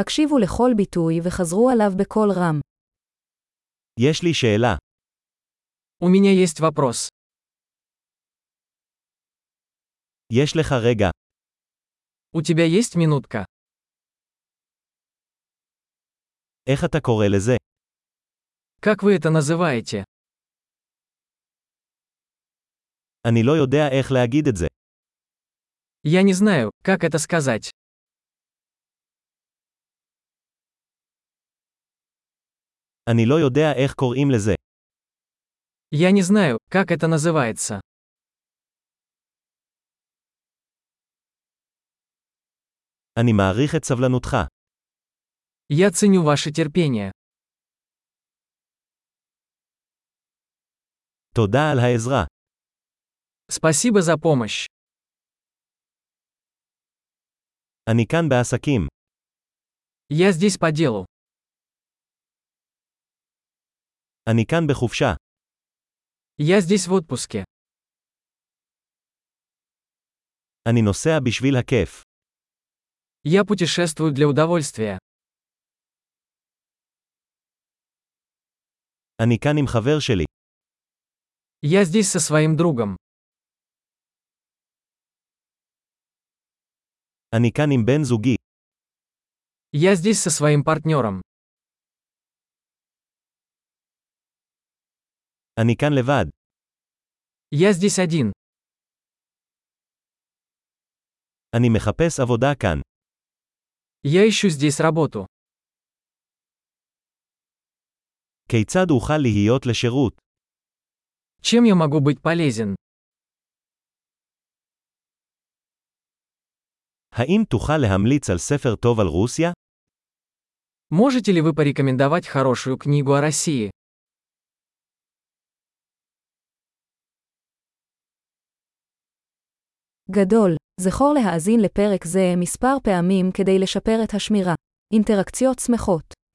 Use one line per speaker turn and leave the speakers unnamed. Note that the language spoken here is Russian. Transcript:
הקשיבו לכל ביטוי וחזרו עליו בקול רם.
יש לי שאלה.
У меня есть вопрос.
יש לך רגע.
У тебя есть минутка?
איך אתה קורא לזה?
Как вы это называете?
אני לא יודע איך להגיד את זה.
Я не знаю, как это сказать.
אני לא יודע איך קוראים לזה.
Я не знаю, как это называется.
אני מעריך את סבלנותך.
Я ценю ваше терпение.
תודה על העזרה.
Спасибо за помощь.
אני כאן בעסקים.
Я здесь по делу.
אני כאן בחופשה.
Я здесь в отпуске.
אני נוסע בשביל הכיף.
Я путешествую для удовольствия.
אני כאן עם חבר שלי.
Я здесь со своим другом.
אני כאן עם בן זוגי.
Я здесь со своим партнером.
אני כאן לבד.
Я здесь один.
אני מחפש עבודה כאן.
Я ищу здесь работу.
כיצד אוכל להיות לשירות?
Чем я могу быть полезен?
האם תוכל להמליץ על ספר טוב על רוסיה?
Можете ли вы порекомендовать хорошую книгу о России?
גדול, זכור להאזין לפרק זה מספר פעמים כדי לשפר את השמירה. אינטראקציות שמחות